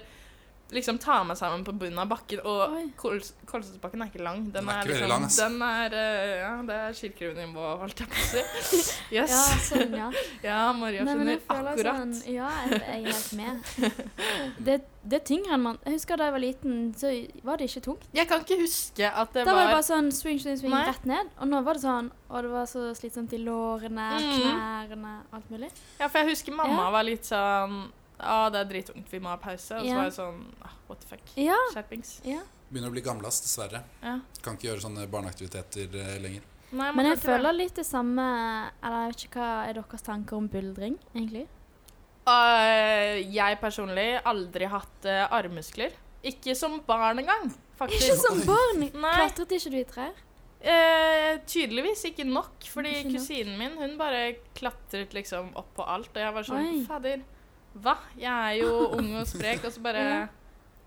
liksom tar meg sammen på bunnen av bakken. Oi. Og Kols- Kolsåsbakken er ikke lang. Den, Den er er, ikke veldig liksom, lang, ass. Den er, eh, ja, det er kirkeruvenivå, holdt jeg på å si. <laughs> Yes. Ja, sånn, <laughs> ja. Ja, Maria Nei, skjønner men jeg føler akkurat. Sånn, ja, jeg, jeg er helt med. <laughs> Det, det er tyngre enn man Jeg husker da jeg var liten, så var det ikke tungt. Jeg kan ikke huske at det Da var det var bare sånn swing, swing, swing Nei. rett ned. Og nå var det sånn Og det var så slitsomt i lårene, Mm. knærne, alt mulig. Ja, for jeg husker mamma Ja. var litt sånn Å, det er drittungt, vi må ha pause. Og så Ja. var jeg sånn ah, What the fuck. Ja. Skjerpings. ja. Begynner å bli gamlas, dessverre. Ja. Kan ikke gjøre sånne barneaktiviteter eh, lenger. Nei, man Men kan jeg ikke det. føler litt det samme Eller jeg vet ikke hva er deres tanker om buldring, egentlig? Øh, jeg personlig aldri hatt øh, armmuskler. Ikke som barn engang, faktisk. Ikke som barn! <laughs> Nei. Klatret ikke du i trær? Eh, tydeligvis ikke nok, fordi Ikke nok. kusinen min hun bare klatret liksom opp på alt. Og jeg var sånn Oi. Fader, hva? Jeg er jo ung og sprek, og så bare Ja.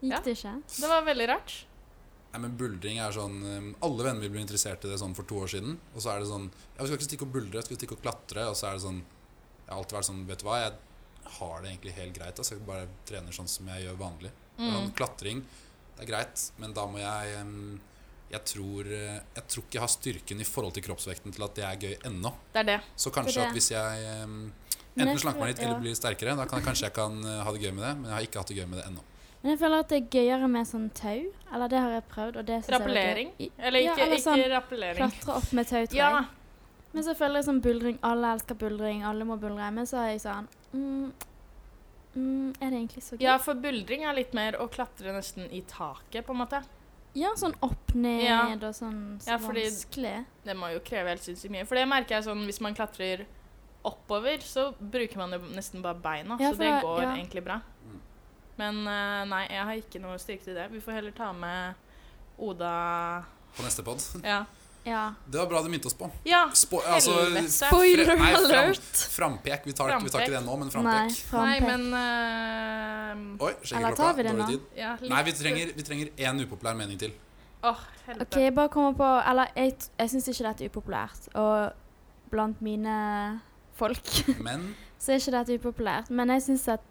Gikk Ja. det ikke? Det var veldig rart. Nei, men buldring er sånn um, Alle venner vi ble interessert i det sånn for to år siden. Og så er det sånn Ja, vi skal ikke stikke og buldre, vi skal stikke og klatre. Og så er det sånn Jeg har alltid vært sånn Vet du hva, jeg har det egentlig helt greit. Altså, jeg bare trener sånn som jeg gjør vanlig. Det er Mm. sånn Klatring, det er greit, men da må jeg um, jeg tror, eh, jeg tror ikke jeg har styrken i forhold til kroppsvekten til at det er gøy ennå. Det er det. Så kanskje det. at hvis jeg um, Men enten jeg slanker meg tror- litt eller ja. blir sterkere, da kan jeg, kanskje jeg kan eh, ha det gøy med det. Men jeg har ikke hatt det gøy med det ennå. Men jeg føler at det er gøyere med sånn tau. Eller det har jeg prøvd. Og det synes jeg var gøy. Rappellering? I- Eller Ja, ikke, eller sånn ikke rappellering. Klatre opp med tau, tror Ja, jeg. Men så føler jeg sånn buldring Alle elsker buldring, alle må buldre. Men så er jeg sånn mm, mm, Er det egentlig så gøy? ja, for buldring er litt mer å klatre nesten i taket, på en måte. Ja, sånn opp ned Ja. og sånn så Ja, fordi- vanskelig. Det må jo kreve helt sinnssykt mye. For det merker jeg sånn, hvis man klatrer oppover, så bruker man jo nesten bare beina. Ja, så for det det- går ja. egentlig bra. Mm. Men eh, nei, jeg har ikke noe styrke til det. Vi får heller ta med Oda På neste pod. Ja. Ja. Det var bra du minte oss på. ja Spo altså, helvete. Fre- nei, fram- Frampek. Vi tar, ikke- vi tar ikke Frampek. det nå, men Nei, frampek. Nei, frampek. men eh, Oi, Eller tar vi sjekkeklokka. det Dårlig nå? tid. ja, litt- Nei, vi trenger, vi trenger én upopulær mening til. Åh, helvete. OK, bare kommer på Eller jeg, t- jeg syns ikke dette er upopulært. Og blant mine folk <laughs> Men så er ikke dette upopulært. Men jeg syns at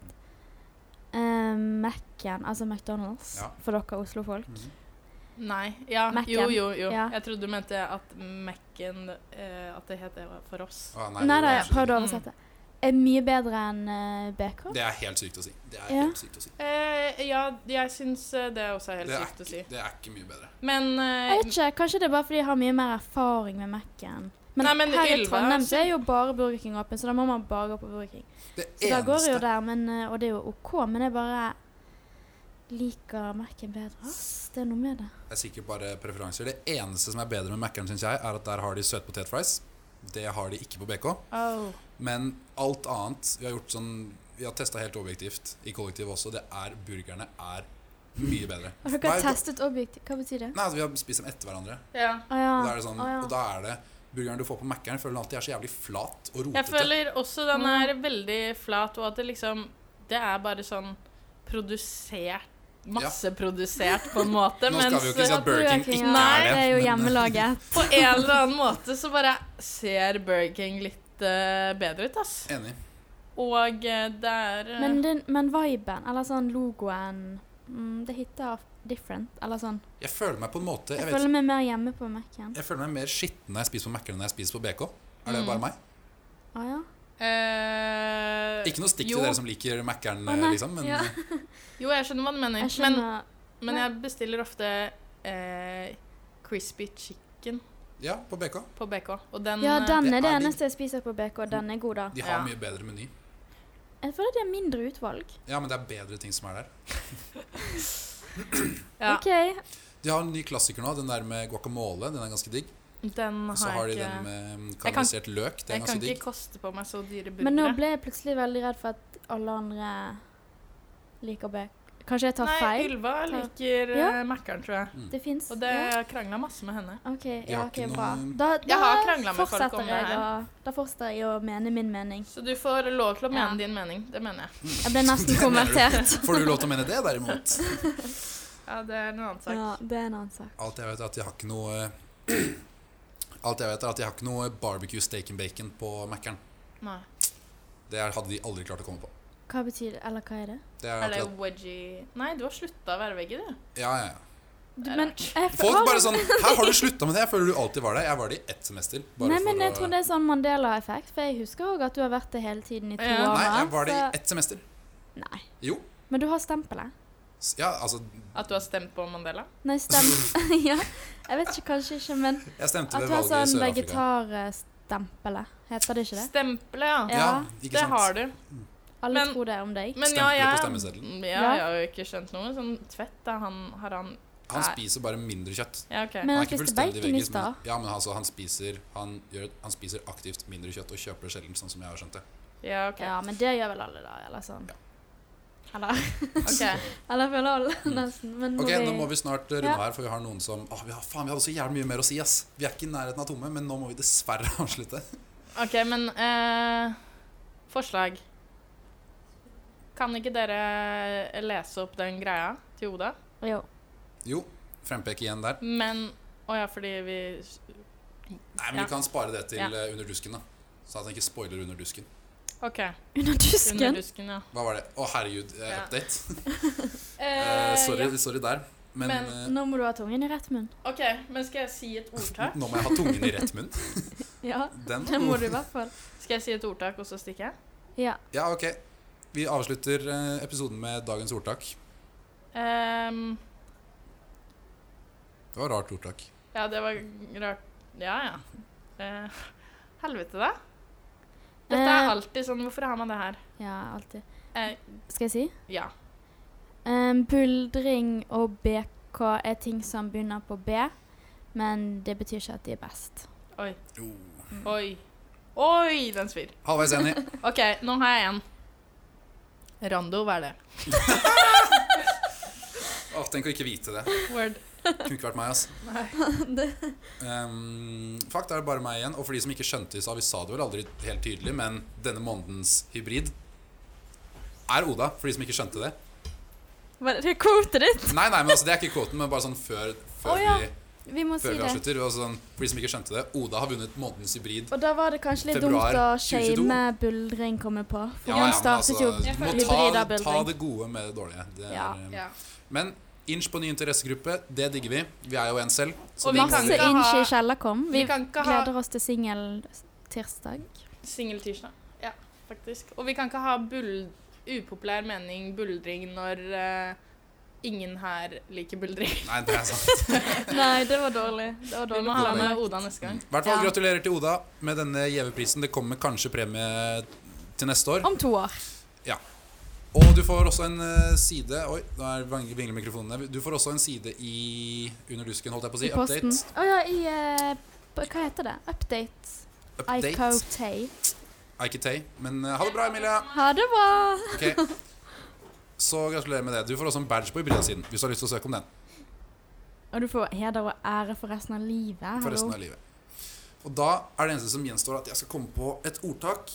eh, Mac-en, altså McDonald's, Ja. for dere Oslo-folk mhm. Nei. Ja, Mac-en. jo, jo, jo. Ja. Jeg trodde du mente at Mac-en eh, At det het det for oss. Å, Nei, nei, det, jeg prøvde er, å oversette. Er mye bedre enn eh, BK. det er helt sykt å si. Det er Ja. helt sykt å si. Eh, ja, jeg syns eh, det også er helt Det er, sykt å si. ikke, det er ikke mye bedre. Men Jeg eh, vet ikke, Kanskje det er bare fordi jeg har mye mer erfaring med Mac-en. Men, Nei, men her i Ylva- Trondheim så er jo bare Burger King åpen, så da må man bare gå på Burger King. Det Så da går jeg jo eneste der, men, eh, og det er jo OK, men jeg bare liker Mac-en bedre. ass. Det er noe med det. Det er sikkert bare preferanser. Det eneste som er bedre med Mækkern, syns jeg, er at der har de søtpotetfries. Det har de ikke på BK. oh. Men alt annet Vi har gjort sånn Vi har testa helt objektivt i kollektivet også. Det er Burgerne er mye bedre. Og dere Hver- har testet objektivt. Hva betyr det? Nei, altså, vi har spist dem etter hverandre. Ah, ja. Å ja. Og da er det sånn, å ja. og da er det Burgeren du får på Mækkern, føler den alltid er så jævlig flat og rotete. Jeg føler også den er veldig flat, og at det liksom Det er bare sånn produsert Masseprodusert, <laughs> på en måte. Nå skal vi jo ikke si mens at Burger King ikke ja. er det. Det er jo men- eh, <laughs> hjemmelaget. på en eller annen måte så bare ser Burger King litt eh, bedre ut, ass. Enig. Og eh, det er eh, Men, den, men viben, eller sånn logoen mm, Det heter different, eller sånn. Jeg føler meg på en måte Jeg, Jeg vet, føler meg mer hjemme på Mac-en. jeg føler meg mer skitten når jeg spiser på Mækkern enn jeg spiser på BK. Er det Mm. bare meg? Å ja. eh, Ikke noe stikk jo, til dere som liker Mækkern, Å, nei. liksom, men Ja. Jo, jeg skjønner hva du mener. Jeg skjønner. Men, men jeg bestiller ofte eh, crispy chicken ja, på BK. på BK, og den ja, eh, den Det er det er de- eneste jeg spiser på BK, og den er god, da. De har Ja. mye bedre meny. Jeg føler det er mindre utvalg. Ja, men det er bedre ting som er der. ja. OK. De har en ny klassiker nå, den der med guacamole. Den er ganske digg. Den Og har, så har de jeg den ikke med kan- karamellisert løk. Det er Jeg kan ganske ikke digg. koste på meg så dyre Men nå burgere. ble jeg plutselig veldig redd for at alle andre liker BK. Kanskje jeg tar Nei, feil? Ylva liker Ja. ja. Mækkern, tror jeg. Det fins. Og det jeg krangla masse med henne. OK, har ja, ok, ikke noe- bra. Da, Jeg da har kranglet med folk om fortsetter det jeg å, her. Da fortsetter jeg å mene min mening. Så du får lov til å mene Ja. din mening. Det mener jeg. Jeg ble nesten konvertert. <laughs> Får du lov til å mene det, derimot? Ja, det er en annen sak. Ja, det er en annen sak. Alt jeg vet, er at jeg har ikke noe <clears throat> Alt jeg vet, er at jeg har ikke noe barbecue steak and bacon på Mækkern. Nei. Det hadde de aldri klart å komme på. Hva betyr det? Eller hva er det? Det er Er det akkurat wedgie Nei, du har slutta å være veggie, du. Ja, ja, ja. Du, Det er men rart. jeg, Folk har- bare sånn Her har du slutta med det! Jeg føler du alltid var der. Jeg var det i ett semester. Bare Nei, for men jeg å- tror det er sånn Mandela-effekt, for jeg husker òg at du har vært det hele tiden i to Ja. år. Nei, jeg var det så- i ett semester. Nei. Jo. Men du har stempelet. S- Ja, altså At du har stemt på Mandela? Nei, stem... <laughs> <laughs> ja. Jeg vet ikke, kanskje ikke, men Jeg stemte at ved du har valget i sånn Sør-Afrika. vegetarstempele. Heter det ikke det? Stempelet, ja. Ja. ikke Det sant? har du. Alle Men- tror det om deg. Men ja, Stempelet på jeg, stemmeseddelen. ja, jeg har jo ikke skjønt noe. Sånn Tvedt, da, han har han Han spiser bare mindre kjøtt. Ja, OK. Men er han ikke spiste fullstendig bacon veggis, i men- stad. Ja, men altså, han spiser han, gjør, han spiser aktivt mindre kjøtt og kjøper det sjelden, sånn som jeg har skjønt det. Ja, ok. Ja, men det gjør vel alle, da? Eller sånn. Ja. Eller, Ok. eller føler alle, nesten. Men Mm. Ok, Nå må vi snart eh, runde Ja. her, for vi har noen som Åh, vi har, faen, vi hadde så jævlig mye mer å si, ass. Vi er ikke i nærheten av tomme, men nå må vi dessverre <laughs> avslutte. Ok, men eh, forslag. Kan ikke dere lese opp den greia til Oda? Jo. Jo, frempek igjen der. Men Å ja, fordi vi Nei, men Ja. vi kan spare det til Ja. eh, under dusken, da. Sånn at han ikke spoiler under dusken. OK. Under Under dusken. dusken, ja. Hva var det? Å, herregud, eh, Ja. update. Eh, Eh, sorry, ja. sorry der. Men, Men- Nå må du ha tungen i rett munn. OK, men skal jeg si et eh, ordtak? nå må jeg ha tungen i rett munn. Ja, Den. <laughs> det må du i hvert fall. Skal jeg si et ordtak, og så stikker jeg? Ja. Ja, ok. Vi avslutter eh, episoden med dagens ordtak. Ehm, Det var rart ordtak. ja, det var rart. Ja, ja. Eh, helvete, da. Dette Eh, er alltid sånn. Hvorfor har man det her? Ja, alltid. Eh, Skal jeg si? ja. Um, buldring og BK er ting som begynner på B, men det betyr ikke at de er best. Oi. Oh. Oi. Oi, den svir. Halvveis enig. OK, nå har jeg en. Rando, hva er det? Åh, tenk å ikke vite det. Word. Kunne ikke vært meg, ass. Um, fuck, da er det bare meg igjen. Og for de som ikke skjønte det, så vi sa det vel aldri helt tydelig, men denne månedens hybrid er Oda, for de som ikke skjønte det. Var det kvotet ditt? Nei, nei, men altså, det er ikke kvoten, men bare sånn før, før Å, ja. vi Vi må Før si vi det. avslutter, altså, sånn, for de som ikke skjønte det, Oda har vunnet månedens hybrid. Og da var det kanskje litt Februar dumt å 2022. shame buldring komme på. For Ja, ja, han men startet jo altså, du må hybrid av ta, ta buldring. det gode med det dårlige. Det er, Ja. eh, Ja. Men inch på ny interessegruppe, det digger vi. Vi er jo en selv. så Og vi det må kan Masse ikke ha- inch i Vi kjellerkom. Vi kan ikke ha gleder oss til singel tirsdag. singeltirsdag. Ja, faktisk. Og vi kan ikke ha bull upopulær mening buldring når eh, ingen her liker buldring. Nei, det er sant. Nei, det var dårlig. Det var Vi må ha med Oda neste gang. I hvert fall Ja. gratulerer til Oda med denne gjeveprisen. Det kommer kanskje premie til neste år. Om to år. Altså, Og du får også en eh, side Oi, nå er vang- vingler mikrofonene. Du får også en side i Under dusken, holdt jeg på å si. I posten. Update. Å ja, i eh, p- Hva heter det? Update. Update. ICOTAY. IKT. Men eh, ha det bra, Emilie. Ha det bra! Ok. Så gratulerer med det. Du får også en badge på hybridsiden hvis du har lyst til å søke om den. Og du får heder og ære for resten av livet. hallo. for resten av livet. Og da er det eneste som gjenstår at jeg skal komme på et ordtak.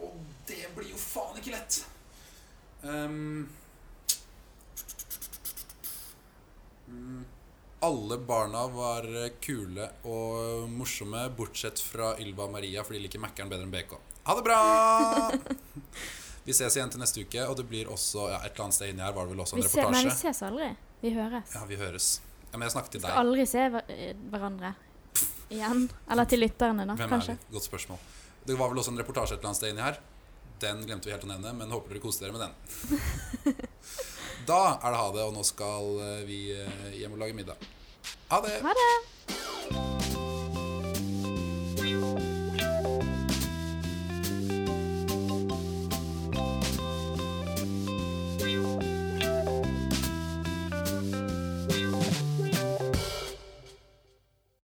Og det blir jo faen ikke lett. Ehm. Mm. alle barna var kule og morsomme, bortsett fra Ylva og Maria, for de liker Mækkern bedre enn BK. Ha det <laughs> bra! Vi ses igjen til neste uke, og det blir også ja, Et eller annet sted inni her var det vel også vi en ser, nei, vi reportasje. ses aldri. Vi høres. Ja, vi høres. Ja, men jeg snakket vi til skal deg. aldri se hver eh, hverandre igjen. Eller til lytterne, da, Hvem kanskje. er vi? Godt spørsmål. Det var vel også en reportasje et eller annet sted inni her. Den glemte vi helt å nevne, men håper dere koser dere med den. <laughs> da er det ha det, og nå skal eh, vi eh, hjem og lage middag. Ha det! Ha det!